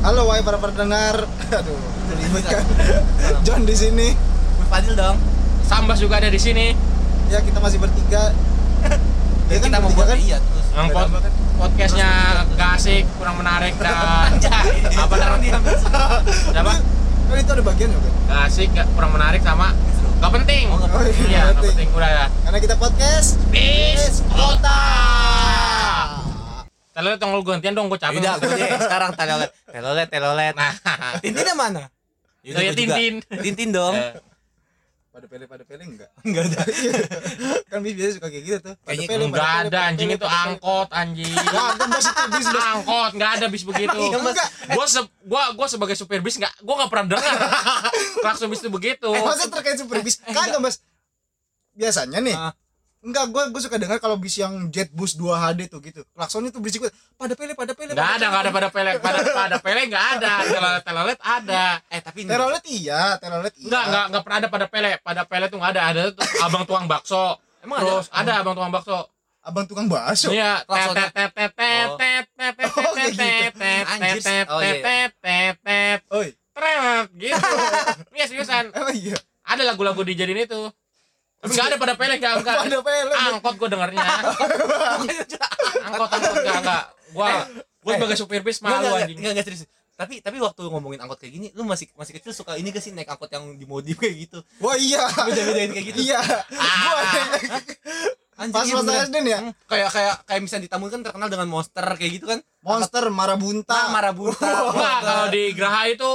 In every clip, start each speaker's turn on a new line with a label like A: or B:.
A: Halo wahai para pendengar. Aduh, ribet kan. John di sini.
B: Gue Fadil dong.
C: Sambas juga ada di sini.
A: Ya kita masih bertiga.
B: Dan
A: Iya kan,
B: kita mau
A: bertiga
B: buat
A: kan?
B: iya terus.
C: Yang pod
A: Beda banget. kan?
C: podcastnya gak asik, kurang menarik dan apa namanya?
B: dia
C: Apa?
A: Kan itu ada bagian juga.
C: Gak asik, gak kurang menarik sama gak penting.
B: Oh, nggak
A: Oh, iya,
C: Iya, gak
A: berarti.
C: penting udah ya.
A: Karena kita podcast.
C: Bis kota. Telur tunggu gantian dong, gue capek.
B: Ya Udah, gue deh sekarang telolet, telolet, telolet.
C: Nah,
B: Tintinnya mana?
C: Yaudah,
B: gue juga.
C: Tintin.
B: Tintin dong.
C: eh,
A: Pada pele pada pele enggak?
B: Enggak ada.
A: Kan biasanya suka kayak gitu tuh. Pada
B: Kayaknya
A: pele, pada
C: nggak
A: pele,
C: ada
A: pada
C: anjing
A: pele,
C: itu
A: pada pele.
C: angkot anjing.
A: Ya, kan maksudnya bis udah
C: angkot nggak ada bis begitu
B: Emang iya, Mas?
C: Enggak. gua se gua gua sebagai supir bis nggak gua nggak pernah dengar klakson bis itu begitu
B: Oh.
A: Eh, masa terkait super bis? Kagak, Mas. Biasanya nih.
B: Ah.
A: Enggak, gue gue suka dengar kalau bis yang Jetbus 2HD tuh gitu. Klaksonnya tuh berisik banget. Pada pele, pada pele.
C: nggak ada nggak ada pada pele pada pada pele nggak ada telolet telolet ada
B: Eh, tapi ini.
A: Terolet iya, terolet iya.
C: nggak nggak nggak pernah ada pada pele pada pele tuh nggak ada ada tuh abang tukang bakso
B: Emang ada?
C: terus ada abang tukang bakso
A: Abang tukang bakso.
C: iya
B: Klaksonnya.
C: tetetetetetetetetetetetetetetetetetetetetetetetetetetetetetetetetetetetetetetet.
A: Oh, kayak Oi,
B: Anjis. iya, Oh, iya, iya.
C: Tret, gitu iya seriusan
A: emang iya.
C: ada lagu-lagu dijadiin itu tapi nggak ada pada pele nggak nggak
A: Pada pele.
C: angkot gue dengernya angkot angkot enggak enggak gua gua
B: eh.
C: sebagai supir bis
B: Enggak,
C: malu
B: enggak,
C: anjing
B: enggak, enggak, serius. Tapi tapi waktu ngomongin angkot kayak gini, lu masih masih kecil suka ini gak sih naik angkot yang dimodif kayak gitu?
A: Wah iya.
B: Beda-bedain kayak gitu.
A: Iya. Gua
B: Anjing,
A: pas
B: iya
A: masa
B: bener.
A: SD nih ya.
B: Hmm, kayak kayak kayak misalnya di Tambun kan terkenal dengan monster kayak gitu kan.
A: Monster marabunta.
B: Nah, Marabunta.
C: enggak kalau di Graha itu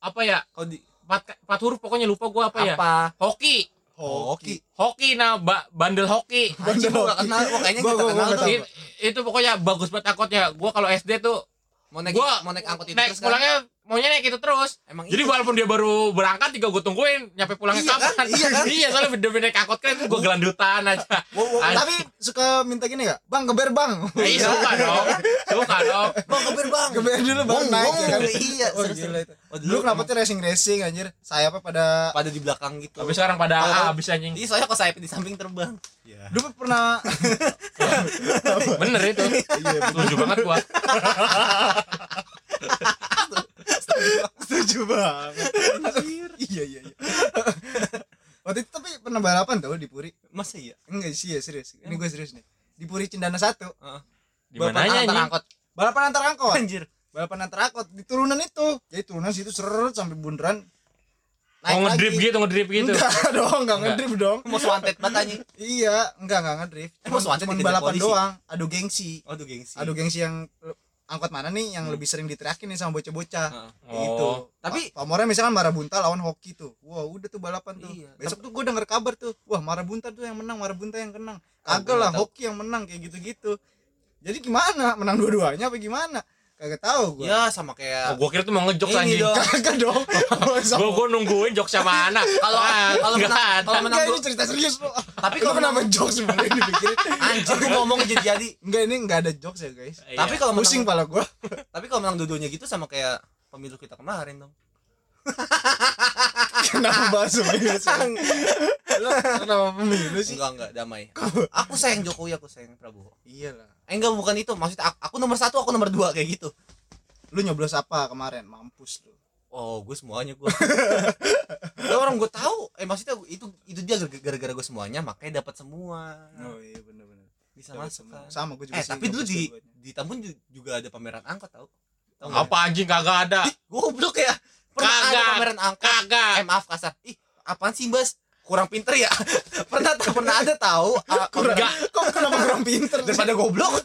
C: apa ya
B: kalau di
C: empat, empat huruf pokoknya lupa gua apa, ya
B: apa?
C: hoki
B: Hoki.
C: hoki nah ba- bandel hoki
B: Anjing gua gak kenal, wah kayaknya
A: Gua-
B: kita
A: gua- gua
B: kenal
A: gak
B: tuh.
A: tahu.
C: I- itu pokoknya bagus banget angkotnya gua kalau SD tuh
B: Mau naik
C: Gua-
B: mau naik angkot itu
C: naik
B: terus kan?
C: pulangnya maunya naik itu terus
B: Emang
C: jadi
B: itu.
C: walaupun dia baru berangkat juga gue tungguin nyampe pulangnya
B: Iya kan?
C: kapan
B: Iya kan?
C: iya soalnya bener naik angkot kan gue gelandutan aja
B: Wow, wow,
C: Anjing.
A: Eh, Tapi suka minta gini gak? Bang geber bang.
C: Nah, iya suka dong suka dong
B: Bang keber bang.
A: Geber dulu bang
B: Wong,
A: naik
B: wong.
A: ya kan.
B: Iya,
A: Oh,
B: seru,
A: gila
B: seru.
A: itu.
B: Oh,
A: Dulu kenapa tuh racing racing anjir? Sayapnya pada
B: pada di belakang gitu.
C: tapi sekarang pada
B: Kalau-
C: ah, habis anjing
B: Iya, soalnya kok sayap di samping terbang.
A: dulu pernah
C: bener itu
B: Iya,
C: setuju banget gua
A: setuju banget. Iya iya iya. Waktu itu tapi pernah balapan tau di Puri.
B: Masa iya?
A: Enggak sih ya serius. Ini gue serius nih. Di Puri Cendana satu.
B: Heeh.
C: di mana
B: Bapak antar
C: anjing
B: angkot.
A: Balapan antar angkot.
B: Anjir.
A: balapan antar angkot di turunan itu jadi turunan situ seret sampai bundaran
C: mau ngedrip gitu ngedrip gitu
A: enggak dong enggak
C: Enggak.
A: ngedrift dong
B: Mau swanted banget anjing. Eh,
A: iya enggak enggak ngedrift
B: Emang Swanton
A: cuma
B: dikejar
A: balapan
B: polisi?
A: doang adu gengsi
B: Aduh gengsi.
A: adu gengsi yang eh, angkot mana nih yang lebih sering diteriakin nih sama bocah-bocah
B: Heeh.
C: Oh.
A: gitu
B: Nah. Tapi-
A: Pa- pamornya misalkan Marabunta lawan hoki tuh wah udah tuh balapan tuh
B: Iya.
A: besok tuh gue denger kabar tuh wah Marabunta tuh yang menang Marabunta yang menang
B: gua
A: kagak lah
B: nggak tahu.
A: hoki yang menang kayak gitu-gitu jadi gimana menang dua-duanya apa gimana kagak tahu gue
B: Ya sama
C: oh,
B: kayak
C: gua kira tuh mau ngejok
B: Ini
C: anjing
B: dong.
A: kagak dong
C: gua gua nungguin jok sama anak
B: Kalau-
C: Ah,
B: kalau
C: nggak
B: menang-
C: ada.
B: kalau menang-
A: Enggak, ini cerita serius lo.
B: Tapi
A: Lu
B: kalau
A: kenapa jokes sebenarnya dipikirin?
B: anjir gua ngomong jadi jadi.
A: Enggak ini enggak ada jokes ya guys.
C: Iya.
B: Tapi kalau
A: Pusing pala
B: menang
A: gua.
B: tapi kalau menang dua-duanya gitu sama kayak pemilu kita kemarin dong.
A: Kenapa bahas pemilu sih? Lu kenapa pemilu sih?
B: Enggak enggak damai. Aku sayang Jokowi, aku sayang Prabowo.
A: Iyalah.
B: Eh, enggak bukan itu, maksudnya aku, aku nomor satu, aku nomor dua kayak gitu.
A: Lu nyoblos apa kemarin? Mampus lu.
B: Oh, gue semuanya gue. ya orang gue tahu, eh maksudnya gua- itu itu dia gara- gara-gara gue semuanya, makanya dapat semua.
A: iya benar-benar.
B: Bisa masuk kan.
A: Sama gua juga
B: Hmm. Eh,
A: sih
B: tapi dulu
A: nyoblos
B: di
A: dua-duanya.
B: di Tambun ju- juga ada pameran angkot tau. Tau nggak?
C: apa anjing kagak ada
B: Ih, Goblok ya. Pernah ada
C: Kagak.
B: pameran angkot. Eh,
C: kagak
B: maaf kasar. Ih, apaan sih, Bas? Kurang pinter ya. pernah tau- pernah ada tahu ah,
A: Kurang-
C: enggak.
A: Kok kenapa kurang pinter?
B: daripada goblok.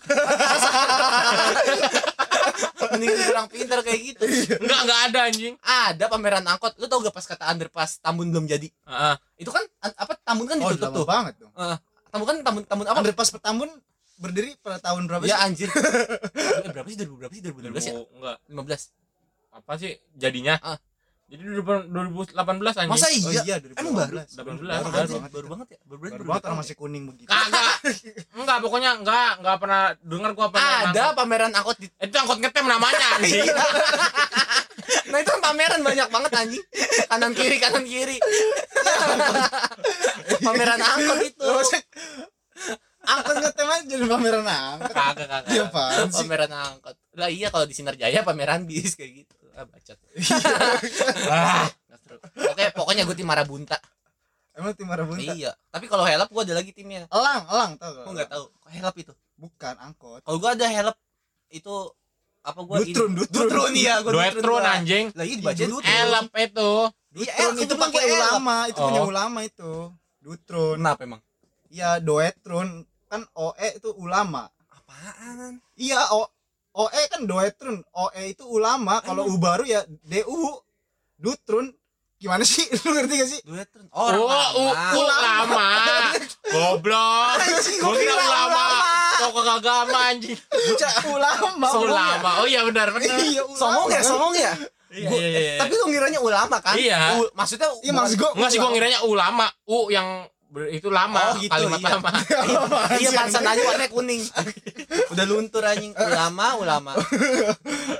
B: Mendingan kurang pinter kayak gitu.
C: enggak enggak ada anjing
B: Ada pameran angkot. Lu tau gak pas kata underpass Tambun belum jadi?
C: Heeh.
B: itu kan an- apa Tambun kan
A: Oh, lama
B: ditutup tuh
A: banget dong.
B: Eh, Tambun kan Tambun Tambun apa
A: Underpass Petambun berdiri pada tahun berapa sih?
B: ya anjir Eh, berapa sih 2000 berapa sih 2012 ya
C: Mau- enggak
B: 15
C: apa sih jadinya
B: Ah.
C: jadi 2018 anjing
A: Oh
B: masa iya
A: iya,
B: Emang baru?
A: 2018.
B: baru,
C: Baru Baru
B: banget,
A: banget
B: baru
A: itu.
B: banget ya baru,
A: Baru banget orang masih kuning begitu.
C: kagak enggak pokoknya enggak enggak pernah dengar gua pernah Eh,
B: ada Iya. pameran angkot di
C: itu angkot ngetem namanya anjing
B: nah itu kan pameran banyak banget anjing kanan kiri kanan kiri pameran angkot itu
A: Lu maksudnya angkot ngetem aja di pameran angkot.
C: kagak kagak
B: Iya,
A: Dia apaan sih?
B: pameran angkot lah iya kalau di Sinar Jaya pameran bis kayak gitu ah bacot
C: Ah,
B: Nggak seru. Oke, pokoknya gue tim Marabunta.
A: Emang tim Marabunta?
B: Iya. Tapi kalau Help gue ada lagi timnya.
A: Elang, elang tau gak?
B: Gue nggak tahu. Kok Help itu.
A: Bukan angkot.
B: Kalau gue ada Help itu apa gue
A: Dutrun, dutrun.
B: Dutrun iya, gue
C: duet tron
B: gua.
C: anjing.
B: Lah iya dibaca
A: Iya,
B: Dutrun.
C: Elap itu.
B: Iya,
A: Dutrun eh,
B: Elap,
A: itu
B: itu
A: pakai
B: pakai Elap.
A: ulama, itu punya
C: Oh.
A: ulama itu. Dutrun.
B: Kenapa emang?
A: Iya, doetrun. Kan OE itu ulama.
B: Apaan?
A: Iya, O OE kan doetrun. OE itu ulama, kalau U baru ya DU. Dutrun. Gimana sih? Lu ngerti gak sih?
B: Duetrun.
C: Oh,
B: Orang
C: u-
B: lama.
C: ulama. Goblok.
A: Anjing,
C: Gua
A: gua
C: kira
A: kira
C: ulama.
A: ulama.
C: Tokoh agama anjing.
A: ulama.
C: Ulama. Oh iya benar benar.
A: Iya, ulama.
B: Songong ya, songong ya.
C: Iya
B: Gua-
C: iya iya.
B: Tapi lu ngiranya ulama kan?
C: Iya.
B: U- maksudnya
A: Iya, maksud gua.
C: Enggak sih gua ngiranya ulama, u yang ber- itu
B: Oh,
C: lama,
B: gitu,
C: kalimat
B: iya.
C: lama.
B: Iya pansan aja warnanya kuning. udah luntur anjing. Ulama, ulama.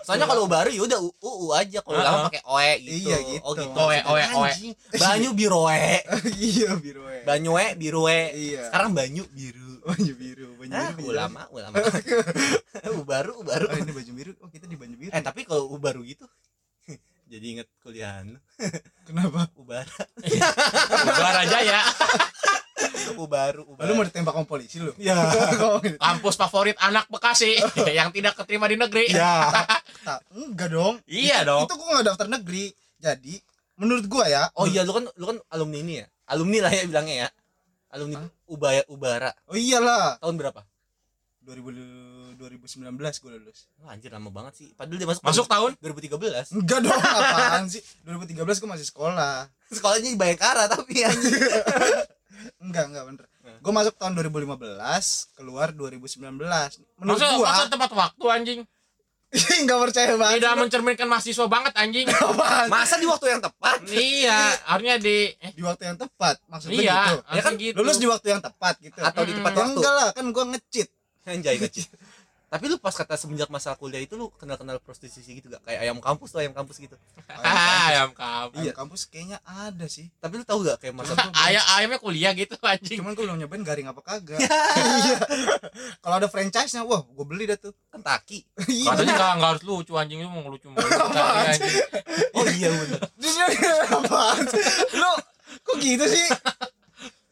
B: Soalnya kalau baru ya udah uu aja kalau
C: Uh-uh.
B: lama pakai oe gitu.
A: Iya, gitu.
B: Oh gitu.
C: Oe, oe, oe.
B: Anjing, Banyu biroe.
A: iya, biru. eh.
B: Banyue biroe.
A: Iya.
B: Sekarang banyu biru.
A: Banyu biru, banyu
B: Ah,
A: biru.
B: ulama, ulama. u baru, u baru.
A: Oh, ini baju biru. Oh, kita di baju biru.
B: Eh, tapi kalau u baru gitu jadi inget kuliahan lu.
A: Kenapa?
B: U baru,
C: Luar aja ya.
B: u baru, u
A: Lu
B: baru.
A: mau ditembak sama polisi lu?
B: Ya.
A: Kok gitu?
C: Kampus favorit anak Bekasi yang tidak keterima di negeri.
B: Ya.
A: Tak, Nah, enggak dong.
C: Iya
A: Itu-
C: dong.
A: Itu gua enggak daftar negeri. Jadi, menurut gua ya.
B: Oh iya, lu kan lu kan alumni ini ya. Alumni lah ya bilangnya ya. Alumni Ubaya Ubara.
A: Oh iyalah.
B: Tahun berapa?
A: 2000 2019 gua lulus.
B: Wah, anjir lama banget sih. Padahal dia masuk
C: Masuk tahun
B: 2013.
A: Enggak dong, apaan sih? 2013 gua masih sekolah.
B: Sekolahnya di Bayangkara tapi ya, anjir.
A: Enggak, enggak bener. Gua masuk tahun 2015, keluar 2019. Menurut
C: Masa,
A: gua,
C: masa tepat waktu anjing
A: enggak percaya banget.
C: Tidak mencerminkan mahasiswa banget anjing
A: Apaan?
B: Masa di waktu yang tepat?
C: Iya harusnya di eh,
A: Di waktu yang tepat, maksudnya
C: Iya
A: gitu.
B: Ya kan,
C: harusnya gitu
A: Lulus di waktu yang tepat gitu.
B: Atau di tepat
A: Ya
B: waktu?
A: enggak lah, kan gua ngecit.
B: Anjay kecil. Tapi lu pas kata semenjak masalah kuliah itu lu kenal-kenal prostitusi gitu gak? Kayak ayam kampus tuh ayam kampus gitu.
C: Ah, Ayam kampus
A: Iya, kampus kayaknya ada sih.
B: Tapi lu tahu gak kayak masa
C: Ayam ayamnya kuliah gitu anjing
A: Cuman gue belum nyobain garing apa kagak. Iya. Kalau ada franchise-nya, wah, gue beli dah tuh. Iya.
B: Kentucky?
C: Katanya nggak nggak harus lucu anjing Lu mau lucu mulu anjing.
B: Oh iya bener.
A: Apaan sih? Lu kok gitu sih?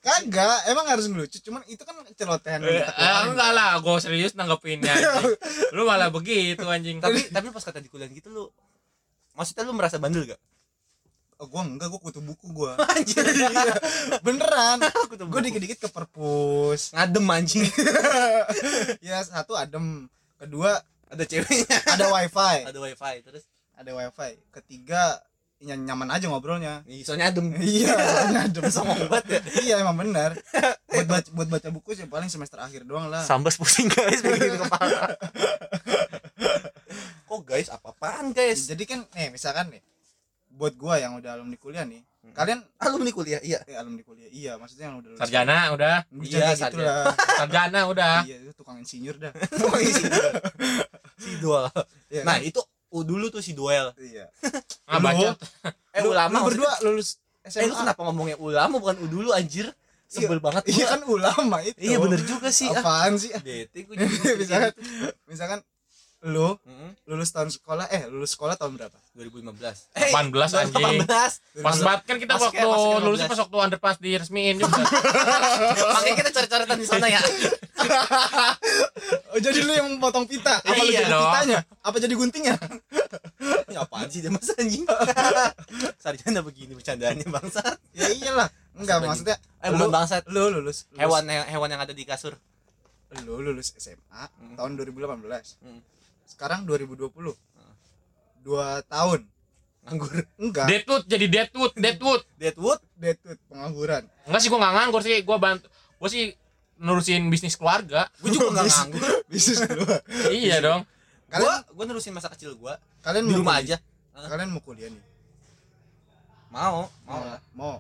A: Kagak, emang harus ngelucu, cuman itu kan celotehan yang kita
C: Eh,
A: keluarin.
C: Enggak lah Gue serius nanggepinnya anjing. Lu malah begitu anjing
B: tapi tapi lu pas kata di kuliah gitu lu maksudnya lu merasa bandel gak?
A: Oh, gue enggak, gue kutu buku gue
B: Anjir.
A: Beneran
B: Kutu
A: Gue
B: buku.
A: dikit-dikit ke perpus
B: Ngadem anjing.
A: Ya satu adem Kedua
B: Ada ceweknya.
A: ada wifi
B: Ada wifi terus.
A: Ada wifi Ketiga ya nyaman aja ngobrolnya
B: Ih, Soalnya adem.
A: Iya soalnya adem
B: Songong banget ya.
A: Iya emang bener buat baca, buat baca buku sih paling semester akhir doang lah
B: Sambas pusing guys bikin kepala. Kok guys apa-apaan guys?
A: jadi kan nih misalkan nih buat gua yang udah alumni kuliah nih kalian
B: Alumni kuliah iya.
A: eh alumni kuliah iya maksudnya yang udah lulus
C: Sarjana udah
A: iya
B: Iya,
A: gitu lah
C: Sarjana udah
A: iya itu tukang insinyur dah
B: si duel.
A: Iya,
B: Nah,
A: kan?
B: itu oh, dulu tuh si duel.
A: iya
C: Ah
A: Lu-
C: bacot
B: Eh
A: Lu-
B: ulama
A: lu
B: maksudnya-
A: berdua lulus
B: Eh lu
A: SMA
B: kenapa ngomongnya ulama bukan udulu anjir? Sebel banget gua.
A: iya kan ulama itu
B: Iya bener juga sih. Ah,
A: apaan sih
B: bete gua jadi.
A: misalkan misalkan lu
B: Mm-mm.
A: lulus tahun sekolah eh lulus sekolah tahun berapa
B: 2015.
C: 18
B: 18.
C: anjing. Pas banget kan kita
B: Masuknya-
C: waktu
B: masuknya 15.
C: lulusnya pas waktu underpass diresmiin juga
B: Makanya kita cari-caritan di sana ya.
A: oh jadi lu yang potong pita apa lu
C: Iya
A: jadi
C: dong.
A: pitanya apa jadi guntingnya
B: Ya, apaan sih dia mas anjing? Sarjana begini bercandaannya bangsa.
A: ya iyalah enggak
B: Maksud
A: maksudnya
B: Eh bukan bangsa.
A: lu lulus, lulus
B: Hewan hewan yang ada di kasur.
A: lu lulus SMA tahun 2018
B: Hmm.
A: sekarang 2020 dua tahun
B: Nganggur.
A: enggak
C: Deadwood jadi Deadwood Deadwood
B: Deadwood.
A: deadwood pengangguran
C: Enggak sih gue nggak nganggur sih gue bantu gue sih nerusin bisnis keluarga
B: Gue juga nggak nganggur.
A: bisnis gua
C: iya dong
A: kalian
B: Gue gue nerusin masa kecil gue
A: kalian
B: di
A: mau
B: rumah
A: kuliah-
B: aja.
A: kalian mau kuliah nih
B: Mau mau lah.
A: mau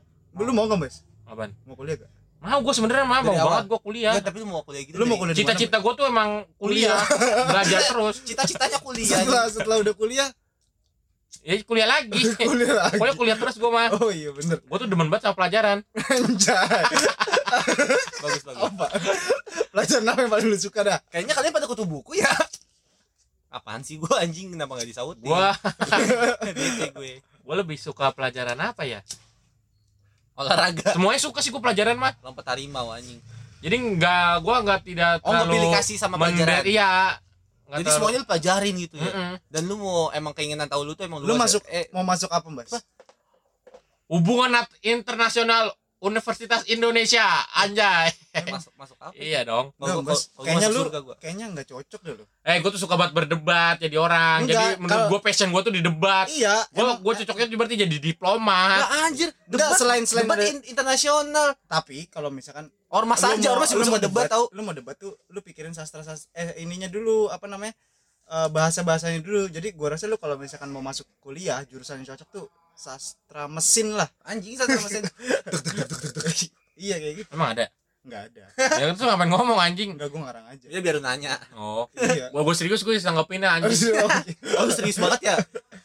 A: lu mau nggak mas
C: apaan
A: mau kuliah gak
C: mau gue sebenarnya mau
B: Dari
C: mau
B: awal.
C: banget gue kuliah
B: Nggak, tapi lu mau kuliah gitu.
A: Iya. lu mau
B: dari-
A: kuliah di mana,
C: cita-cita gue tuh emang kuliah belajar terus
B: Cita-citanya
A: Mas?
B: kuliah.
A: setelah setelah udah kuliah
C: ya kuliah lagi
A: kuliah lagi
C: pokoknya kuliah terus gue mah
A: oh iya bener
C: gue tuh demen banget sama pelajaran
A: anjay
B: bagus bagus.
A: apa pelajaran apa yang paling lu suka dah
B: Kayaknya kalian pada kutu buku ya. apaan sih gua anjing kenapa nggak disautin
C: Gua
B: bete gue
C: gua lebih suka pelajaran apa ya?
B: olahraga
C: Semuanya suka sih gua pelajaran mah.
B: lompat harimau anjing
C: Jadi nggak gua nggak tidak
B: oh
C: terlalu
B: mobilikasi sama
C: mender-
B: pelajaran
C: Iya. Nggak
B: jadi
C: terlalu-
B: semuanya lu pelajarin gitu ya
C: Mm-mm.
B: dan lu mau emang keinginan tahu lu tuh emang
A: Lu
B: luas
A: masuk-
B: ya? eh,
A: mau masuk apa mbak
C: Hubungan nat- internasional Universitas Indonesia anjay.
B: eh, masuk masuk apa
C: Iya dong.
B: Kalau
A: Eh. Nggak,
B: gua-
A: Mas.
B: kalau gua
A: Kayaknya
B: masuk
A: lu-
B: surga gua.
A: kayaknya nggak cocok deh lu
C: Eh, gua tuh suka banget berdebat jadi orang. jadi
A: Enggak,
C: menurut
A: kalau-
C: gua passion gua tuh di debat.
A: iya
C: Gua
A: emang-
C: gua cocoknya tuh berarti jadi diplomat.
B: Lah, anjir
A: Nggak, Ah, selain- selain
B: debat
A: dari-
B: in- internasional
A: tapi kalau misalkan
B: ormas
A: Lu
B: aja
A: mau-
B: ormas
A: lu
B: juga
A: mau
B: suka debat tau
A: lu mau debat tuh lu pikirin sastra sastra eh ininya dulu apa namanya eh, bahasa bahasanya dulu jadi gua rasa lu kalau misalkan mau masuk kuliah jurusan yang cocok tuh sastra mesin lah
B: anjing satu sama sen-
A: iya kayak gitu
C: Emang ada.
A: nggak ada
C: ya kan tuh ngapain ngomong anjing.
A: nggak gua ngarang aja
B: dia Ya, biar nanya
C: Oh.
A: iya
C: Gua, gua serius gua disanggepinnya anjing.
B: oh, lu serius banget ya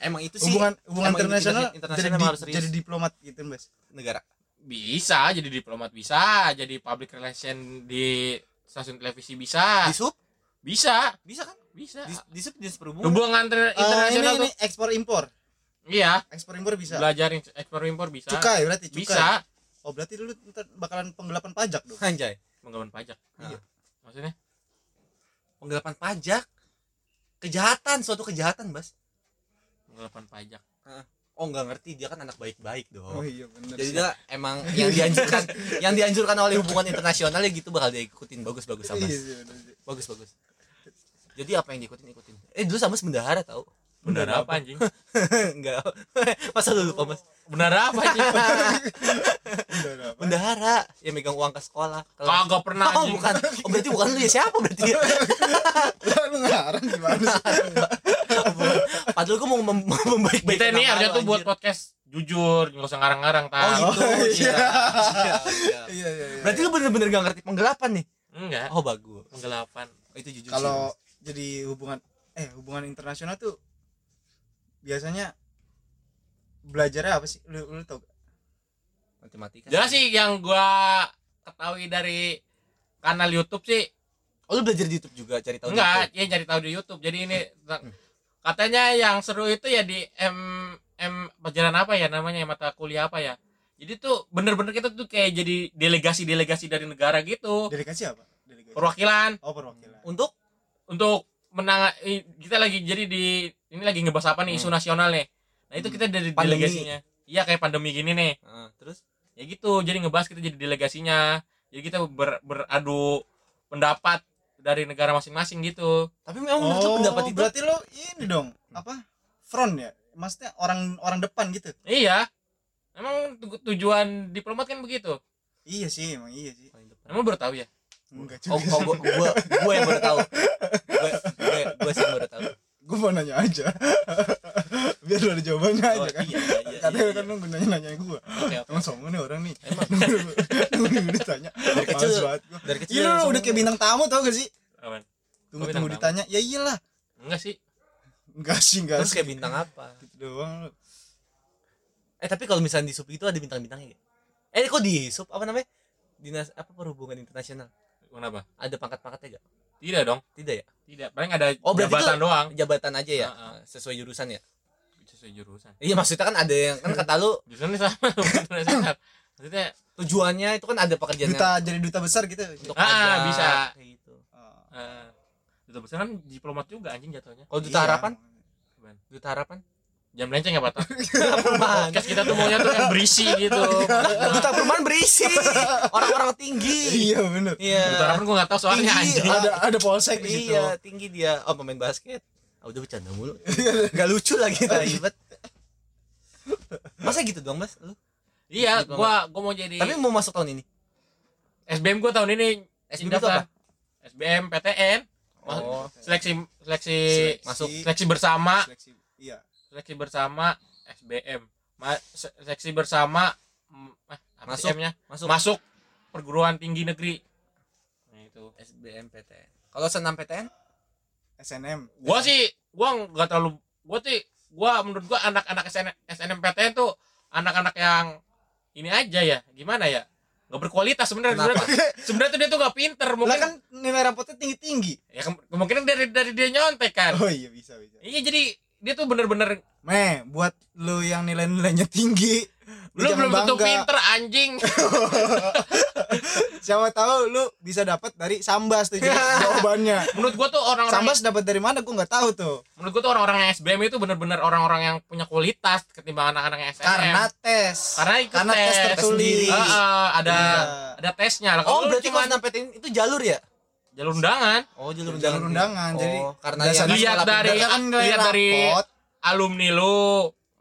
B: emang itu sih
A: hubungan hubungan
B: emang
A: internasional
B: internasional- internasional
A: jadi,
B: emang
A: di-
B: harus serius.
A: jadi diplomat gitu mbak
B: negara
C: bisa jadi diplomat bisa jadi public relation di stasiun televisi bisa
A: Ah.
B: di sub
C: bisa
B: bisa kan
C: bisa
B: di, di sub dinas perhubungan
C: hubungan inter-
A: Eh ini
C: internasional
A: ini
C: tuh
A: ekspor impor
C: iya
A: ekspor impor bisa
C: belajar in- ekspor impor bisa
A: cukai berarti cukai
C: bisa
A: oh berarti lu ntar bakalan penggelapan pajak dong
B: anjay
C: menggawan pajak Nah,
B: Iya.
C: maksudnya
B: penggelapan pajak kejahatan suatu kejahatan bas
C: menggawan pajak
B: oh nggak ngerti dia kan anak baik-baik dong
A: iya benar
B: jadi dia emang yang dianjurkan yang dianjurkan oleh hubungan internasional ya gitu bakal dia ikutin bagus-bagus sama
A: iya sih, bener sih.
B: bagus-bagus jadi apa yang diikutin ikutin eh dulu sama bendahara tau
C: benar apa anjing
B: enggak masa lu lupa mas
C: benar apa anjing
A: Bener, apa?
B: bendahara yang megang uang ke sekolah Kalau-
C: kagak pernah
B: oh
C: anjing
B: bukan oh, berarti bukan lu ya siapa berarti ya?
A: lu ngarang gimana sih
B: padahal gua mau mem- mem- membaik-baikin
C: kita ini
B: nama
C: harusnya
B: lu,
C: tuh buat
B: anjir.
C: podcast jujur nggak usah ngarang-ngarang
B: oh
C: tau
B: gitu
A: Oh, iya.
B: iya. Iya, iya.
A: iya iya iya
B: berarti lu bener-bener gak ngerti penggelapan nih
C: enggak
B: oh bagus
C: penggelapan
B: Oh, itu jujur sih,
A: kalau
B: Mas.
A: Iya, jadi hubungan eh hubungan internasional tuh biasanya belajarnya apa sih lu lu tau gak?
B: matematika
C: jelas sih yang gua ketahui dari kanal YouTube sih
B: oh lu belajar di YouTube juga cari tahu di
C: Enggak, ya cari tahu di YouTube. Jadi ini tentang- katanya yang seru itu ya di M M pelajaran apa ya namanya ya, mata kuliah apa ya. Jadi tuh bener-bener kita tuh kayak jadi delegasi-delegasi dari negara gitu.
A: delegasi apa delegasi
C: Perwakilan
A: oh perwakilan
B: YouTube. untuk
C: untuk menang i- kita lagi jadi di ini lagi ngebahas apa nih isu nasional nih. Nah, itu kita dari
B: Hmm. Pandemi.
C: delegasinya. Iya kayak pandemi gini nih.
B: Ah, terus
C: Ya gitu, jadi ngebahas kita jadi delegasinya. Jadi kita ber- beradu pendapat dari negara masing-masing gitu.
A: Oh,
B: tapi memang menurut lu pendapat itu
A: berarti lu ini dong apa front ya maksudnya orang orang depan gitu
C: Iya. Emang tu- tujuan diplomat kan begitu.
A: iya sih emang iya sih
B: Paling depan.
C: Emang baru tahu ya?
A: enggak
B: oh,
A: juga
B: oh, gua, gua gua yang baru tahu gua gua, gua sih yang baru tahu
A: gue mau nanya aja biar lu ada jawabannya
B: Oh,
A: aja kan
B: iya, iya, iya,
A: katanya
B: iya.
A: kan lu nanya nanya gue
B: Oke, oke.
A: emang sombong nih orang nih emang udah ditanya dari
B: kecil- ya.
A: banget gua.
B: dari kecil
A: iya lu
B: langsung-
A: udah kayak bintang tamu tau gak sih
C: Apaan?
A: tunggu
C: Gua
A: tunggu
C: bintang
A: ditanya ya iyalah
C: Enggak sih.
A: enggak sih enggak
B: terus
A: sih
B: kayak bintang apa
A: gitu doang lu
B: eh tapi kalau misalnya di sub itu ada bintang-bintangnya ya? eh kok di sub apa namanya dinas apa perhubungan internasional
C: Kenapa?
B: ada pangkat-pangkatnya gak
C: Tidak dong.
B: tidak ya
C: Tidak. Paling ada
B: Oh, berarti
C: jabatan doang.
B: jabatan aja ya
C: Ah,
B: sesuai jurusan ya
C: Sesuai jurusan.
B: iya maksudnya kan ada yang kan kata lu
C: Jurusannya sama. bukan dasar. Maksudnya
B: tujuannya itu kan ada pekerjaan
A: duta
B: yang
A: Iya, jadi duta besar gitu
B: untuk
C: Ah,
B: pajak,
C: bisa.
B: kayak gitu
A: Oh.
C: eh duta besar kan diplomat juga anjing jatuhnya.
B: kalau duta
A: Iya.
B: harapan duta harapan
C: Jam lenceng ya, Batak.
B: Apaan?
C: Podcast kita tuh maunya tuh yang berisi gitu.
B: duta perumahan berisi orang-orang tinggi
A: iya bener Iya.
C: Duta
B: iya
C: harapan gua enggak tahu soalnya
B: Tinggi.
C: anjing.
A: ada ada polsek di situ
B: iya tinggi dia oh pemain basket ah udah bercanda mulu gak lucu lagi tadi masa gitu dong mas lu
C: Iya, gua gua mau jadi
B: tapi mau masuk tahun ini
C: SBM gua tahun ini
B: SBM itu
C: daftar. SBM PTN Mas-
B: oh
C: seleksi seleksi
A: Seleksi.
C: masuk seleksi bersama
A: Seleksi. iya
C: seleksi bersama SBM Ma- se- seleksi bersama mm, eh, apa sih
B: Masuk.
C: M-nya?
B: masuk
C: masuk perguruan tinggi negeri nah itu
B: SBMPTN kalau senam PTN
A: SNM
C: gua sih gua nggak terlalu gua sih gua menurut gua anak-anak SN, SNMPTN tuh anak-anak yang ini aja ya gimana ya nggak berkualitas sebenarnya
B: Kenapa?
C: sebenarnya sebenarnya tuh dia tuh nggak pinter
A: Lah
C: mungkin
A: kan nilai rapotnya tinggi-tinggi.
C: ya kem- kemungkinan dari dari dia nyontek kan
A: Oh iya bisa bisa.
C: iya jadi dia tuh bener-bener
A: Meh, buat lu yang nilai-nilainya tinggi, lu
C: lu
A: jangan
C: belum tentu
A: bangga.
C: pinter anjing
A: Siapa tahu lu bisa dapat dari Sambas tuh jadi jawabannya.
C: menurut gua tuh orang-orang
A: Sambas dapat dari mana gua nggak tahu tuh.
C: menurut gua tuh orang-orang yang SBM itu bener-bener orang-orang yang punya kualitas ketimbang anak-anak yang SNM
A: Karena tes.
C: Karena ikut
A: tes,
C: tes.
A: tertulis.
B: Tes
C: Ah, ah, ada
A: Iya.
C: ada tesnya lah
B: Oh,
C: kalau lu
B: berarti
C: cuma
B: mas nampetin itu jalur ya?
C: jalur undangan
B: Oh, jalur
A: Jalur undangan,
B: Oh,
A: jadi
B: karena
A: dasar-
B: yang
C: Lihat
B: sekolah
C: dari-
B: pindah-
A: Berdasarkan kan nilai
C: lihat dari-
A: rapot,
C: alumni lu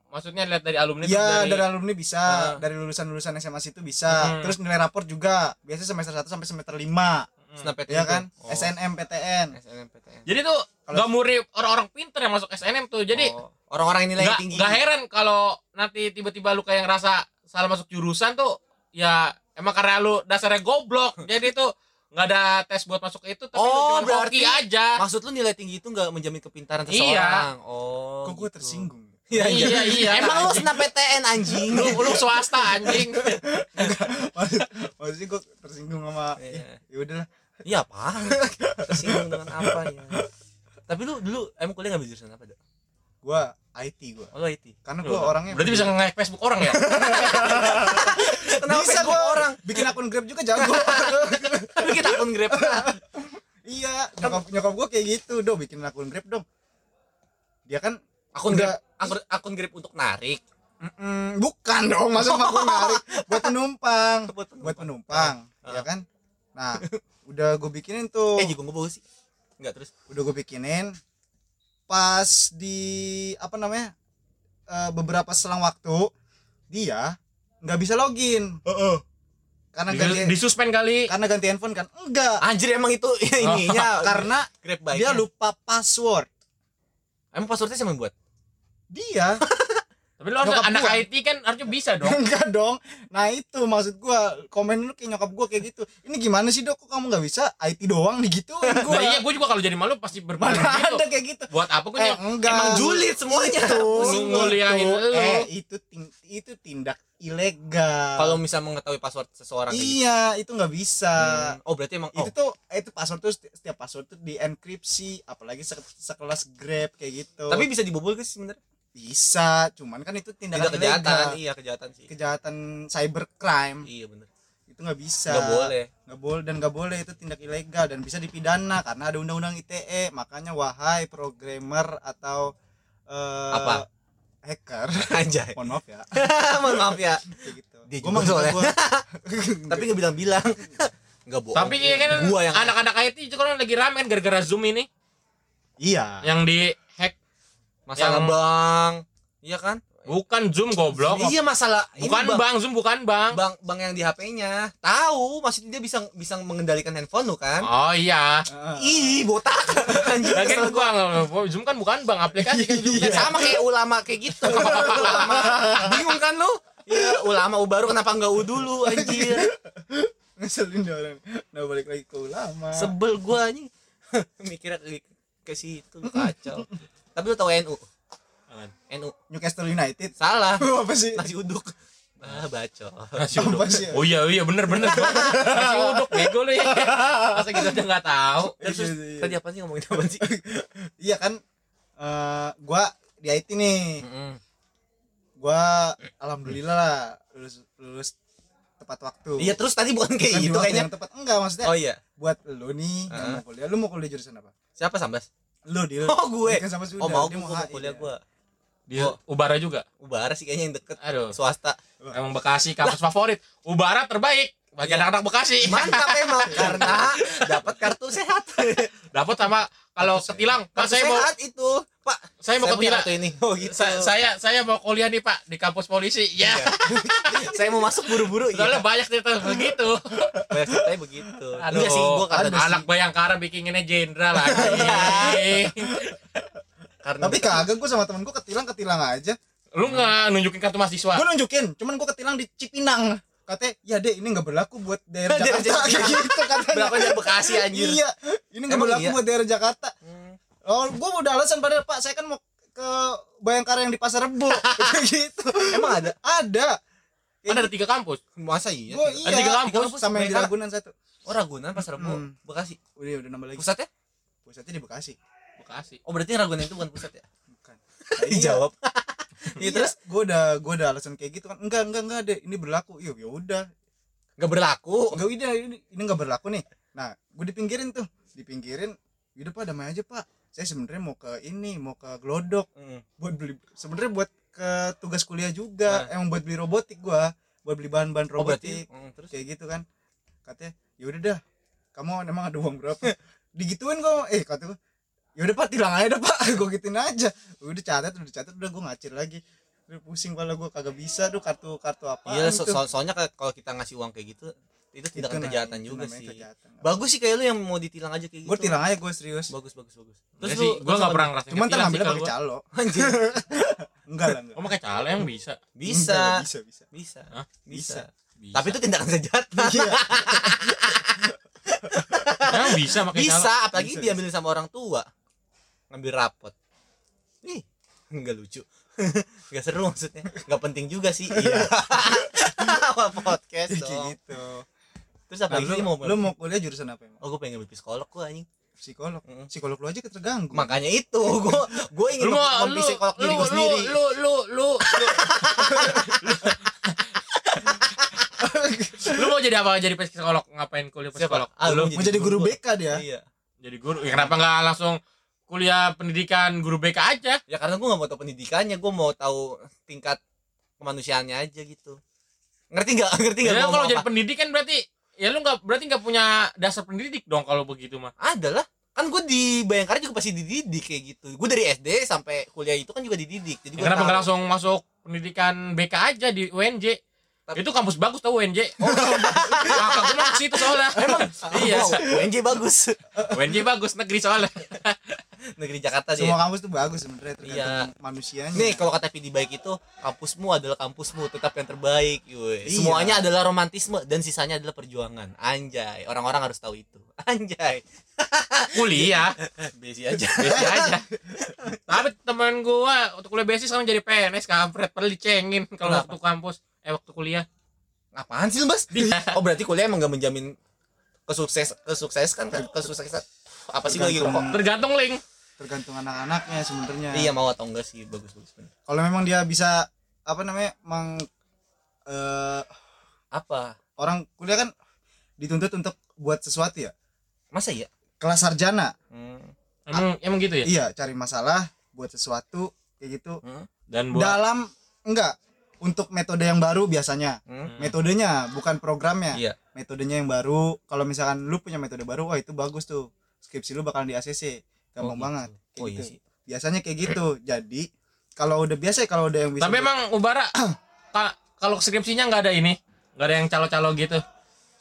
C: maksudnya lihat dari alumni
B: Iya,
C: terus
A: ya dari, alumni bisa,
B: Ah.
A: dari lulusan-lulusan SMA situ bisa.
C: Hmm.
A: Terus nilai rapor juga, biasanya semester 1 sampai semester 5,
C: Hmm.
B: Snapchat
A: ya
B: itu.
A: kan?
B: Oh.
A: SNM, PTN.
B: SNMPTN.
C: jadi tuh
A: Kalau-
C: nggak murid orang-orang pinter yang masuk SNM tuh jadi
B: Oh, orang-orang yang nilai
C: nggak
B: tinggi.
C: nggak heran kalau nanti tiba-tiba lu kayak ngerasa salah masuk jurusan tuh ya emang karena lu dasarnya goblok jadi tuh nggak ada tes buat masuk itu tapi
B: Oh,
C: lu cuma
B: berarti-
C: hoki aja
B: Maksud lu nilai tinggi itu nggak menjamin kepintaran
C: Iya.
B: seseorang? Oh.
A: Kok gue
B: gitu.
A: tersinggung? ya?
B: Iya, iya.
C: iya iya
B: Emang lu SNMPTN anjing.
C: lu lu swasta anjing
A: Maksud- Maksudnya gue tersinggung sama
B: Iya.
A: ya udahlah.
B: Iya apa? Tersinggung dengan apa ya? Tapi lu dulu emang kuliah ngambil jurusan apa, Dok?
A: Gue IT gue.
B: Oh, lu IT.
A: Karena gue orangnya
C: berarti bisa nge-hack Facebook orang ya
B: Kenapa
A: bisa
B: gua
A: gue
B: orang?
A: orang bikin akun Grab juga jago.
B: Tapi kita akun Grab.
A: iya, nyokap nyokap gue kayak gitu, "Do, bikin akun Grab dong." Dia kan
B: Akun
A: Udah.
B: Grab, akun, akun Grab untuk narik.
A: Mm, bukan dong, masa mah gua narik buat penumpang,
B: Buat penumpang.
A: buat penumpang,
B: Ah.
A: ya kan? Nah, udah gue bikinin tuh,
B: Eh, juga gue bagus sih. Enggak terus.
A: udah gue bikinin pas di apa namanya eh, beberapa selang waktu dia nggak bisa login karena ganti
C: di suspend kali
A: karena ganti handphone kan enggak
B: Anjir emang itu ininya
A: karena
B: Grab
A: Oh.
B: baik.
A: dia lupa password
B: Emang passwordnya siapa yang buat?
A: dia
C: tapi lu harusnya
A: Nyokap
C: anak
A: gua.
C: IT kan harusnya bisa dong
A: enggak dong nah itu maksud gua komen lu kayak nyokap gua kayak gitu ini gimana sih dok kok kamu nggak bisa IT doang nih gitu gua
C: nah iya gue juga kalau jadi malu pasti berpikir
A: mana ada
C: gitu
A: kayak gitu
C: buat apa gue
A: eh
C: nyok-
A: enggak
B: Emang gitu. julid semuanya.
A: itu,
C: Pusing nguliahin
A: itu,
C: lu.
A: eh itu ting- itu tindak ilegal
B: Kalau bisa mengetahui password seseorang kayak gitu.
A: iya Gitu. itu nggak bisa
B: Hmm. Oh, berarti emang oh.
A: itu tuh eh, itu password tuh seti- setiap password tuh dienkripsi apalagi se- sekelas grab kayak gitu
B: Tapi bisa dibobol guys sebenarnya.
A: bisa cuman kan itu
B: Tidak
A: tindakan ilegal.
B: kejahatan, iya kejahatan sih.
A: kejahatan cybercrime
B: Iya bener.
A: itu nggak bisa
B: Enggak boleh.
A: nggak boleh dan nggak boleh itu tindak ilegal dan bisa dipidana karena ada undang-undang ITE makanya wahai programmer atau eh,
B: Apa?
A: hacker
B: Anjay.
A: mohon maaf ya
B: Mohon maaf ya.
A: kayak gitu
B: Dia
A: Gua
B: juga
A: mah nggak-
B: soalnya.
A: gua-
B: Tapi nggak bilang-bilang. Enggak bohong.
C: tapi ya kan
B: gua yang
C: anak-anak IT juga kan lagi rame kan gara-gara Zoom ini
A: iya
C: yang di hack
B: masalah
C: yang-
B: bang. Iya kan?
C: bukan Zoom goblok
B: Iya masalah ini
C: bukan
B: bang.
C: bang Zoom bukan bang
B: Bang, bang yang di HP-nya tahu maksudnya dia bisa bisa mengendalikan handphone lu kan?
C: oh iya
B: Ih, botak. Anjir. kesel gua.
C: Lagian gua nggak- Zoom kan bukan bang aplikasi kan Zoom
A: Iya,
B: Ya,
C: kan
B: sama kayak ulama kayak gitu. ulama. Bingung kan lu? Iya, ulama u baru kenapa enggak u dulu anjir?
A: ngeselin dia orang nah balik lagi ke ulama
B: Sebel gua anjing. Mikirnya ke, ke situ kacau. Tapi lu tahu NU?
C: Apaan?
B: NU.
A: Newcastle United
B: Salah.
A: apa sih
B: Nasi uduk. Ah, bacot.
C: Nasi uduk.
A: Apa sih ya?
C: Oh iya iya bener bener. Nasi uduk bego lu ya. Masa gitu aja nggak tahu.
B: Terus terus,
A: Iya, iya.
B: tadi apa sih ngomongin apa sih?
A: iya kan eh gua di IT nih
B: Mm-mm.
A: gua alhamdulillah lah lulus lulus tepat waktu
B: Iya, terus tadi bukan kayak
A: Kan di
B: gitu
A: waktu
B: kayaknya.
A: yang tepat enggak maksudnya
B: Oh iya.
A: buat lu nih yang
B: Heeh.
A: mau kuliah lu mau kuliah jurusan apa
B: Siapa Sambas?
A: lu di
B: Oh, gue.
A: kan sama sudah
B: Oh, mau
A: dia
B: gua mau
A: HI,
B: kuliah
A: dia.
B: gua.
C: Dia Ubara juga.
B: Ubara sih kayaknya yang deket
C: Aduh.
B: swasta.
C: Emang Bekasi kampus favorit. Ubara terbaik bagi anak-anak Bekasi.
B: Mantap emang karena dapat kartu sehat.
C: Dapat sama kalau ketilang. Pak
B: Kartu
C: saya mau
B: sehat itu, Pak.
C: saya mau
B: punya
C: ketilang.
B: kartu ini. Oh gitu.
C: Sa- saya saya mau kuliah nih Pak di kampus polisi. Ya.
B: Iya. saya mau masuk buru-buru iya.
C: Soalnya banyak cerita begitu.
B: banyak ceritanya begitu
C: Aduh.
B: iya sih gua Iya. karena
C: anak Bayangkara bikinnya jenderal anjing.
B: karena
A: tapi kagak gua sama temen gua ketilang ketilang aja
C: Lu nggak nunjukin kartu mahasiswa.
A: gua nunjukin cuman gua ketilang di Cipinang katanya ya deh ini nggak berlaku buat daerah
B: Daerah
A: Jakarta kayak
B: Jakarta.
A: gitu katanya
B: berapa dari Bekasi anjir
A: iya ini nggak
B: Emang
A: berlaku
B: iya? Hmm.
A: buat daerah Jakarta oh gua udah alasan padahal pak saya kan mau ke Bayangkara yang di Pasar Rebo kayak gitu
B: emang ada
A: ada
C: Kan ada tiga kampus.
B: Masa iya?
A: Gua
B: sih?
A: iya.
C: Ada tiga
A: di
C: kampus,
A: kampus sama yang di
B: mereka-
A: Ragunan satu.
B: Oh Ragunan Pasar Rebo
A: Hmm.
B: Bekasi.
A: Udah udah nambah lagi.
B: Pusatnya?
A: Pusatnya di Bekasi.
C: Bekasi. Iya.
B: Oh berarti Ragunan itu bukan pusat ya?
A: Bukan.
B: Dijawab.
A: Iya terus gue udah gue udah alasan kayak gitu kan. Enggak enggak enggak deh. Ini berlaku. Iya ya udah.
B: Gak berlaku.
A: Enggak udah ini ini enggak berlaku nih. Nah gue dipinggirin tuh. Dipinggirin. Yaudah pak damai aja pak. Saya sebenarnya mau ke ini mau ke Glodok
B: Hmm.
A: buat beli sebenarnya buat ke tugas kuliah juga emang buat beli robotik gua buat beli bahan-bahan
B: Oh
A: robotik
B: berarti. Hmm, terus?
A: kayak gitu kan katanya yaudah dah kamu emang ada uang berapa digituin gua eh kata gua yaudah pak tilang aja dah pak gua gituin aja udah catat udah catat udah gua ngacir lagi udah pusing pala gua kagak bisa tuh kartu kartu apa
B: Iya so- so- soalnya kalau kita ngasih uang kayak gitu itu tindakan kejahatan juga sih. Bagus sih kayak lu yang mau ditilang aja kayak gitu.
A: gua tilang aja gua serius
B: Bagus bagus bagus.
C: Terus Iya sih, gua
B: terus
C: enggak
B: apa
C: pernah
B: nih?
C: ngerasain.
A: cuman
C: ketilang sih gitu
A: terambilnya
C: kalau
A: pakai
C: gua.
A: calo
B: Anjir.
A: enggak lah enggak
C: Oh, pakai calo emang bisa.
B: Bisa.
C: Hmm,
A: Enggak, bisa bisa
B: Bisa.
C: Hah?
B: Bisa.
C: Bisa.
B: Tapi itu tindakan kejahatan.
A: iya
C: emang bisa pakai calo.
B: Bisa, apalagi
A: Bisa,
B: diambil sama orang tua. Ngambil rapot. Nih, enggak lucu. Enggak seru maksudnya. Enggak penting juga sih. Iya. Apa
A: kayak
B: podcast dong.
A: gitu
B: Terus apa
A: Nah,
B: lagi
A: lu,
B: sih mau
A: lu mau kuliah jurusan apa emang?
B: Oh, gue pengen ngambil psikolog gua anjing.
A: Psikolog.
B: Mm.
A: Psikolog lu aja keterganggu.
B: Makanya itu gua gua ingin
C: Lu mau
B: mem-
C: lu
B: mempsikolog
C: lu
B: diri gua
C: lu
B: sendiri.
C: lu lu lu lu mau jadi apa? Jadi psikolog? Ngapain kuliah psikolog?
B: Ah, lu
A: mau jadi guru ya?
B: gua.
A: BK dia.
B: Iya.
C: Jadi guru. Ya, kenapa nggak langsung kuliah pendidikan guru BK aja?
B: Ya karena gua nggak mau tahu pendidikannya, gua mau tahu tingkat kemanusiaannya aja gitu. Ngerti nggak? Ngerti nggak?
C: Ya,
B: Iya, gua
C: kalau
B: ngomong
C: jadi
B: apa?
C: pendidikan berarti ya lu nggak berarti nggak punya dasar pendidik dong kalau begitu mah.
B: Ada lah. Kan gue di Bayangkara juga pasti dididik kayak gitu. Gue dari SD sampai kuliah itu kan juga dididik. Jadi
C: Ya,
B: gua
C: kenapa
B: tahu.
C: nggak langsung masuk pendidikan BK aja di UNJ?
B: Tapi-
C: Itu kampus bagus tau UNJ. Oh, kakak gue mau ke situ soalnya. Emang iya,
B: Wow, Iya. UNJ bagus.
C: UNJ bagus negeri soalnya.
B: Negeri Jakarta dia.
A: Semua kampus tuh bagus sebenarnya tergantung manusianya.
B: Iya. Nih kalau kata PD baik itu kampusmu adalah kampusmu tetap yang terbaik. Yoi.
A: Iya.
B: Semuanya adalah romantisme dan sisanya adalah perjuangan. Anjay, orang-orang harus tahu itu. Anjay. Eh,
C: Kuliah,
B: Besi aja.
C: BC aja. Tapi temen gua waktu kuliah BC sekarang jadi PNS kampret padahal dicengin kalau
B: Kenapa?
C: waktu kampus eh waktu kuliah.
B: Apaan sih, lu, Mas?
C: Iya.
B: Oh, berarti kuliah emang gak menjamin kesukses kesuksesan kan kesuksesan apa sih gitu? lagi
A: Tergantung.
B: rokok?
C: Tergantung link.
A: tergantung anak-anaknya sebenarnya.
B: Iya mau atau enggak sih bagus bagus bener.
A: Kalau memang dia bisa apa namanya? Mang eh,
B: Apa?
A: orang kuliah kan dituntut untuk buat sesuatu ya.
B: Masa iya?
A: Kelas sarjana.
B: Hmm.
C: Emang emang gitu ya?
A: Iya, cari masalah, buat sesuatu kayak gitu.
C: Hmm. Dan buat
A: Dalam enggak untuk metode yang baru biasanya.
B: Hmm.
A: Metodenya bukan programnya.
B: Iya.
A: metodenya yang baru kalau misalkan lu punya metode baru wah itu bagus tuh skripsi lu bakalan di ACC gampang
B: Oh,
A: banget kayak
B: Oh
A: gitu.
B: iya sih.
A: biasanya kayak gitu jadi kalau udah biasa ya, kalau udah yang bisa
C: Tapi emang Ubara ka- kalau skripsinya nggak ada ini, nggak ada yang calo-calo gitu.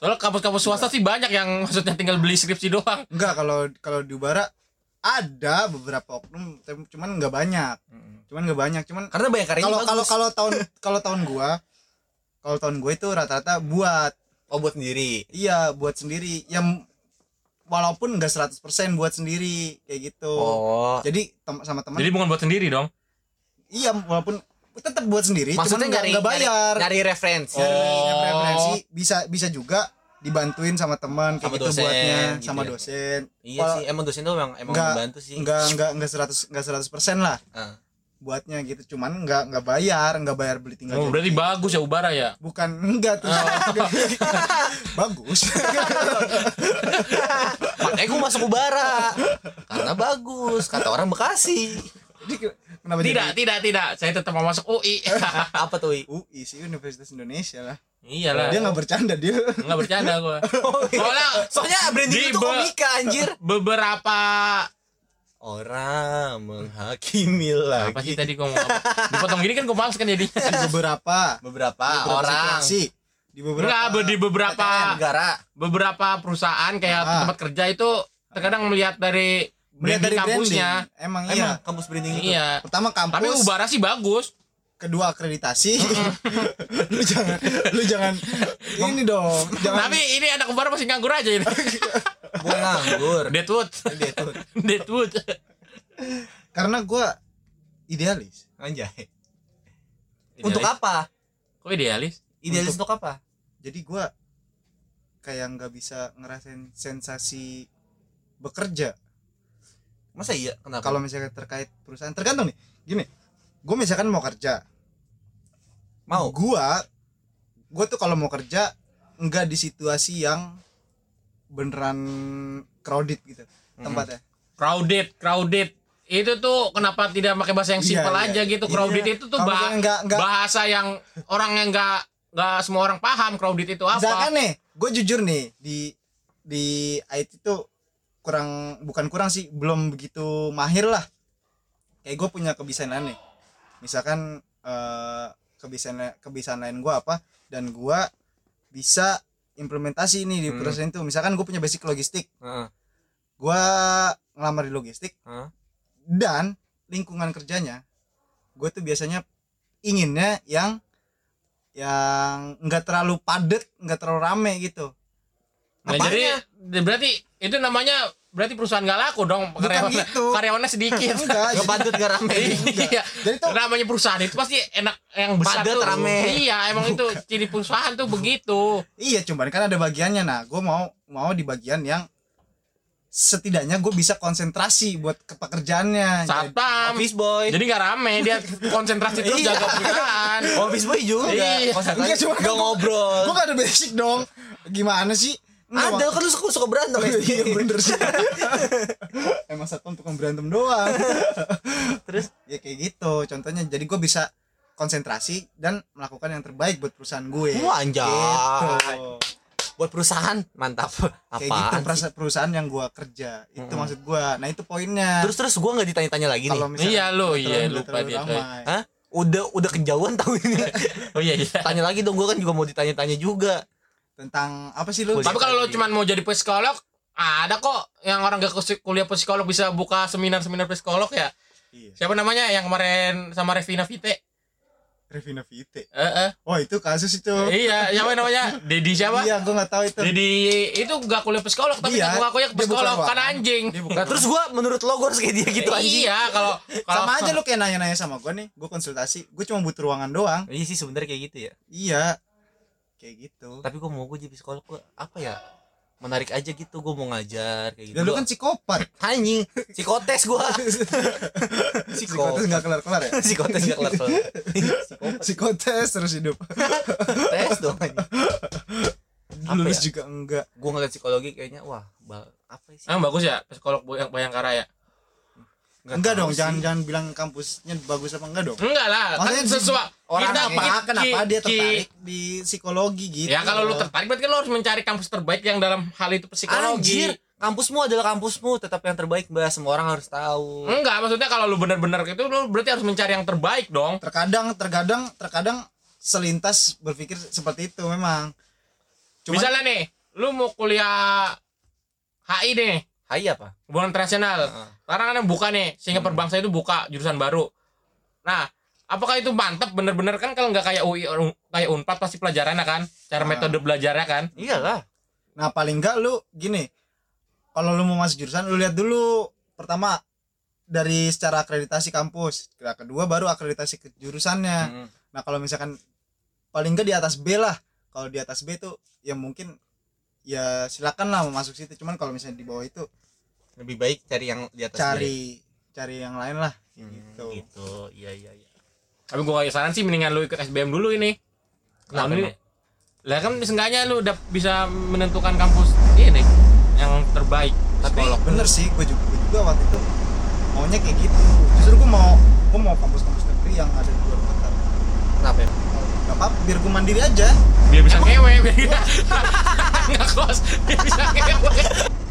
C: Soalnya kampus-kampus swasta sih banyak yang maksudnya tinggal beli skripsi doang.
A: enggak kalau kalau di Ubara ada beberapa oknum tapi- cuman nggak banyak
B: Hmm.
A: cuman nggak banyak cuman
B: Karena Bayangkara ini
A: kalau
B: bagus.
A: kalau kalau tahun kalau tahun gua kalau tahun gue itu rata-rata buat
B: oh buat sendiri.
A: iya buat sendiri yang walaupun enggak 100% buat sendiri kayak gitu
B: Oh.
A: jadi tem- sama teman
C: Jadi bukan buat sendiri dong.
A: iya walaupun tetap buat sendiri cuman
B: Maksudnya
A: nggak
B: nyari,
A: nggak bayar Oh.
B: nyari Oh. nyari referensi.
A: Nyari- nyari referensi bisa bisa juga dibantuin sama teman kayak
B: Sama
A: gitu
B: dosen,
A: buatnya
B: gitu
A: sama
B: ya.
A: dosen
B: Iya
A: Kalau-
B: sih, emang dosen tuh emang emang
A: Enggak,
B: membantu sih.
A: nggak nggak nggak seratus nggak seratus persen lah
B: Ah.
A: buatnya gitu cuman nggak nggak bayar nggak bayar beli tinggal jadi.
C: Oh, berarti bagus ya Ubara ya.
A: bukan enggak tuh bagus
B: Makanya gue masuk Ubara. Karena bagus, kata orang Bekasi.
A: jadi ke- kenapa
C: Tidak,
A: jadi
C: tidak, tidak. Saya tetap mau masuk UI.
B: Apa tuh? I?
A: UI sih Universitas Indonesia lah
C: Iyalah.
A: dia nggak Oh, iya. bercanda dia
C: Nggak bercanda gua. Soalnya
B: Soalnya branding
C: Di
B: itu
C: Be-
B: komika anjir.
C: beberapa
B: Orang menghakimi
C: apa
B: lagi.
C: sih tadi gua mau apa? Dipotong gini kan gua males kan jadi.
A: di beberapa
B: Beberapa
A: beberapa
B: orang.
A: situasi, di beberapa
C: Enggak, be- di beberapa
B: PTN negara.
C: beberapa perusahaan kayak
A: Ah.
C: tempat kerja itu terkadang melihat dari
A: Melihat
C: branding kampusnya.
A: branding. emang iya
B: Emang kampus branding itu.
C: Iya.
A: pertama kampus
C: Tapi Ubara sih bagus.
A: kedua akreditasi lu jangan lu jangan ini dong jangan
C: Tapi ini anak Ubara masih nganggur aja ini.
B: Gua nganggur.
C: Deadwood.
B: Dia tuh
C: Deadwood.
A: karena gua idealis
B: anjay. Untuk apa?
C: Kok idealis?
B: Idealis untuk apa?
A: jadi gua kayak nggak bisa ngerasain sensasi bekerja
B: Masa iya? Kenapa?
A: kalau misalnya terkait perusahaan tergantung nih gini gue misalkan mau kerja
C: Oh.
B: mau
A: gua gua tuh kalau mau kerja nggak di situasi yang beneran crowded gitu
C: Hmm.
A: tempatnya
C: crowded crowded itu tuh kenapa tidak pakai bahasa yang
A: Iya,
C: simpel
A: iya.
C: aja gitu
A: Iya.
C: crowded itu tuh
A: Kalau
C: bah-
A: misalnya nggak- nggak-
C: bahasa yang orang yang nggak nggak semua orang paham crowded itu apa
A: misalkan nih gue jujur nih di di IT tuh kurang bukan kurang sih belum begitu mahir lah kayak gue punya kebiasaan aneh misalkan eh, kebiasaan kebiasaan lain gue apa dan gue bisa implementasi ini di
B: Hmm.
A: perusahaan itu misalkan gue punya basic logistik
B: Heeh.
A: gue ngelamar di logistik
B: Heeh.
A: dan lingkungan kerjanya gue tuh biasanya inginnya yang yang nggak terlalu padat nggak terlalu rame gitu
C: Nah,
B: Apanya?
C: jadi berarti itu namanya berarti perusahaan nggak laku dong karyawannya
A: gitu.
C: karyawannya sedikit
A: enggak
B: Gak
A: jadi,
B: patut gak rame
C: iya
A: jadi tuh
C: namanya perusahaan itu pasti enak yang besar
B: Padat,
C: tuh
B: rame.
C: iya emang itu ciri perusahaan tuh begitu
A: iya cuman kan ada bagiannya nah gue mau mau di bagian yang setidaknya gue bisa konsentrasi buat ke pekerjaannya
C: satpam
B: Office boy
C: jadi nggak rame dia konsentrasi terus
B: Iya.
C: jaga perusahaan
A: Oh,
B: Office boy juga
C: Iya.
B: Konsentrasi.
A: Enggak, cuma kan-
B: Gak ngobrol
A: gue gak ada basic dong gimana sih Enggak,
B: Ada kan lu suka, suka berantem
A: Mak.
B: SD
A: iya bener sih emang satpam tukang berantem doang
B: Terus
A: ya kayak gitu contohnya jadi gue bisa konsentrasi dan melakukan yang terbaik buat perusahaan gue
B: Wah, anjay.
A: Gitu.
B: Buat perusahaan Mantap
A: kayak gitu
B: Apaan sih?
A: perasa- perusahaan yang gue kerja itu
B: Mm-mm.
A: maksud gue nah itu poinnya
B: Terus-terus gue gak ditanya-tanya lagi nih
C: Iya, lu,
A: nggak
C: iya,
A: terlalu-
C: lupa
A: terlalu
C: dia,
A: ramai.
B: Hah? Udah udah kejauhan tahu ini
C: oh iya iya
B: Tanya lagi dong gue kan juga mau ditanya-tanya juga
A: tentang apa sih lu
B: Kuliah.
C: Tapi
A: Iya.
C: kalau lo cuma mau jadi psikolog, ada kok yang orang gak kus- kuliah psikolog bisa buka seminar-seminar psikolog ya.
A: Iya.
C: Siapa namanya yang kemarin sama Revina Vite? Eh,
A: Revina Vite
C: Heeh.
A: oh itu kasus itu
B: Eh,
C: iya, siapa namanya? Dedi siapa?
A: iya gue nggak tahu itu
C: Dedi itu gak kuliah psikolog tapi
A: Iya,
C: ngaku ngakunya
A: dia bukan
C: psikolog kan
A: orang.
C: anjing.
A: Dia bukan
B: Nah terus gue menurut lo gue harus kayak dia gitu anjing
C: Iya, kalau kalau
A: sama aja lu kayak nanya-nanya sama gue nih gue konsultasi gue cuma butuh ruangan doang
B: Iya sih sebenernya kayak gitu ya
A: iya kayak gitu
B: Tapi gue mau gue jadi psikolog gue Apa ya Menarik aja gitu Gue mau ngajar kayak gitu
A: dan lu kan psikopat
B: Anjing Psikotes gue
A: psikotes nggak kelar-kelar ya
B: Psikotes gak kelar soalnya.
A: psikotes terus hidup
B: Psikotes dong anjing Apa
A: lulus
B: ya?
A: juga enggak
B: Gue ngeliat psikologi kayaknya Wah ba- apa sih
C: Emang bagus ya psikolog bu- yang Bayangkara ya?
A: enggak
B: tahu
A: dong
B: sih.
A: jangan jangan bilang kampusnya bagus apa enggak dong
C: Enggak lah,
A: Maksudnya
C: kan sesuai
A: orang
C: kita-
A: apa
C: ki-
A: kenapa
C: ki-
A: dia
C: ki-
A: tertarik di psikologi gitu
C: Ya kalau lu
A: loh.
C: tertarik berarti kan lu harus mencari kampus terbaik yang dalam hal itu psikologi.
B: Anjir Kampusmu adalah kampusmu Tetap yang terbaik mbak Semua orang harus tahu
A: Hmm?
C: Enggak, maksudnya kalau lu benar-benar gitu lu berarti harus mencari yang terbaik dong.
A: terkadang terkadang terkadang selintas berpikir seperti itu memang Cuman-
C: Misalnya nih, lu mau kuliah HI deh,
B: Hai apa?
C: hubungan internasional.
B: Heeh. Hmm.
C: Sekarang kan buka nih, sehingga perbangsa itu buka jurusan baru. Nah, apakah itu mantap bener-bener kan kalau nggak kayak UI or- kayak Unpad pasti pelajarannya kan,
A: Ah.
C: cara metode belajarnya kan.
B: Iyalah
A: nah paling enggak lu gini kalau lu mau masuk jurusan lu lihat dulu pertama dari secara akreditasi kampus nah, kedua baru akreditasi ke jurusannya
C: Hmm.
B: Mm.
A: nah kalau misalkan paling enggak di atas B lah kalau di atas B itu ya mungkin ya silakan lah mau masuk situ cuman kalau misalnya di bawah itu
B: Lebih baik cari yang di atas
A: cari cari yang lain lah
B: dia. Hmm,
A: gitu.
B: Gitu Iya iya iya
C: Tapi gua kayak saran sih mendingan lu ikut SBM dulu ini. Nah,
B: Kenapa
C: ini
B: emang?
C: lah kan seenggaknya lu udah bisa menentukan kampus ini yang terbaik.
A: tapi
C: psikolog.
A: bener sih gue juga, gua juga waktu itu maunya kayak gitu justru gue mau gue mau kampus-kampus negeri yang ada di luar kota
B: Kenapa ya?
A: gak apa biar gue mandiri aja
C: biar bisa ngewe biar nggak kos biar bisa ngewe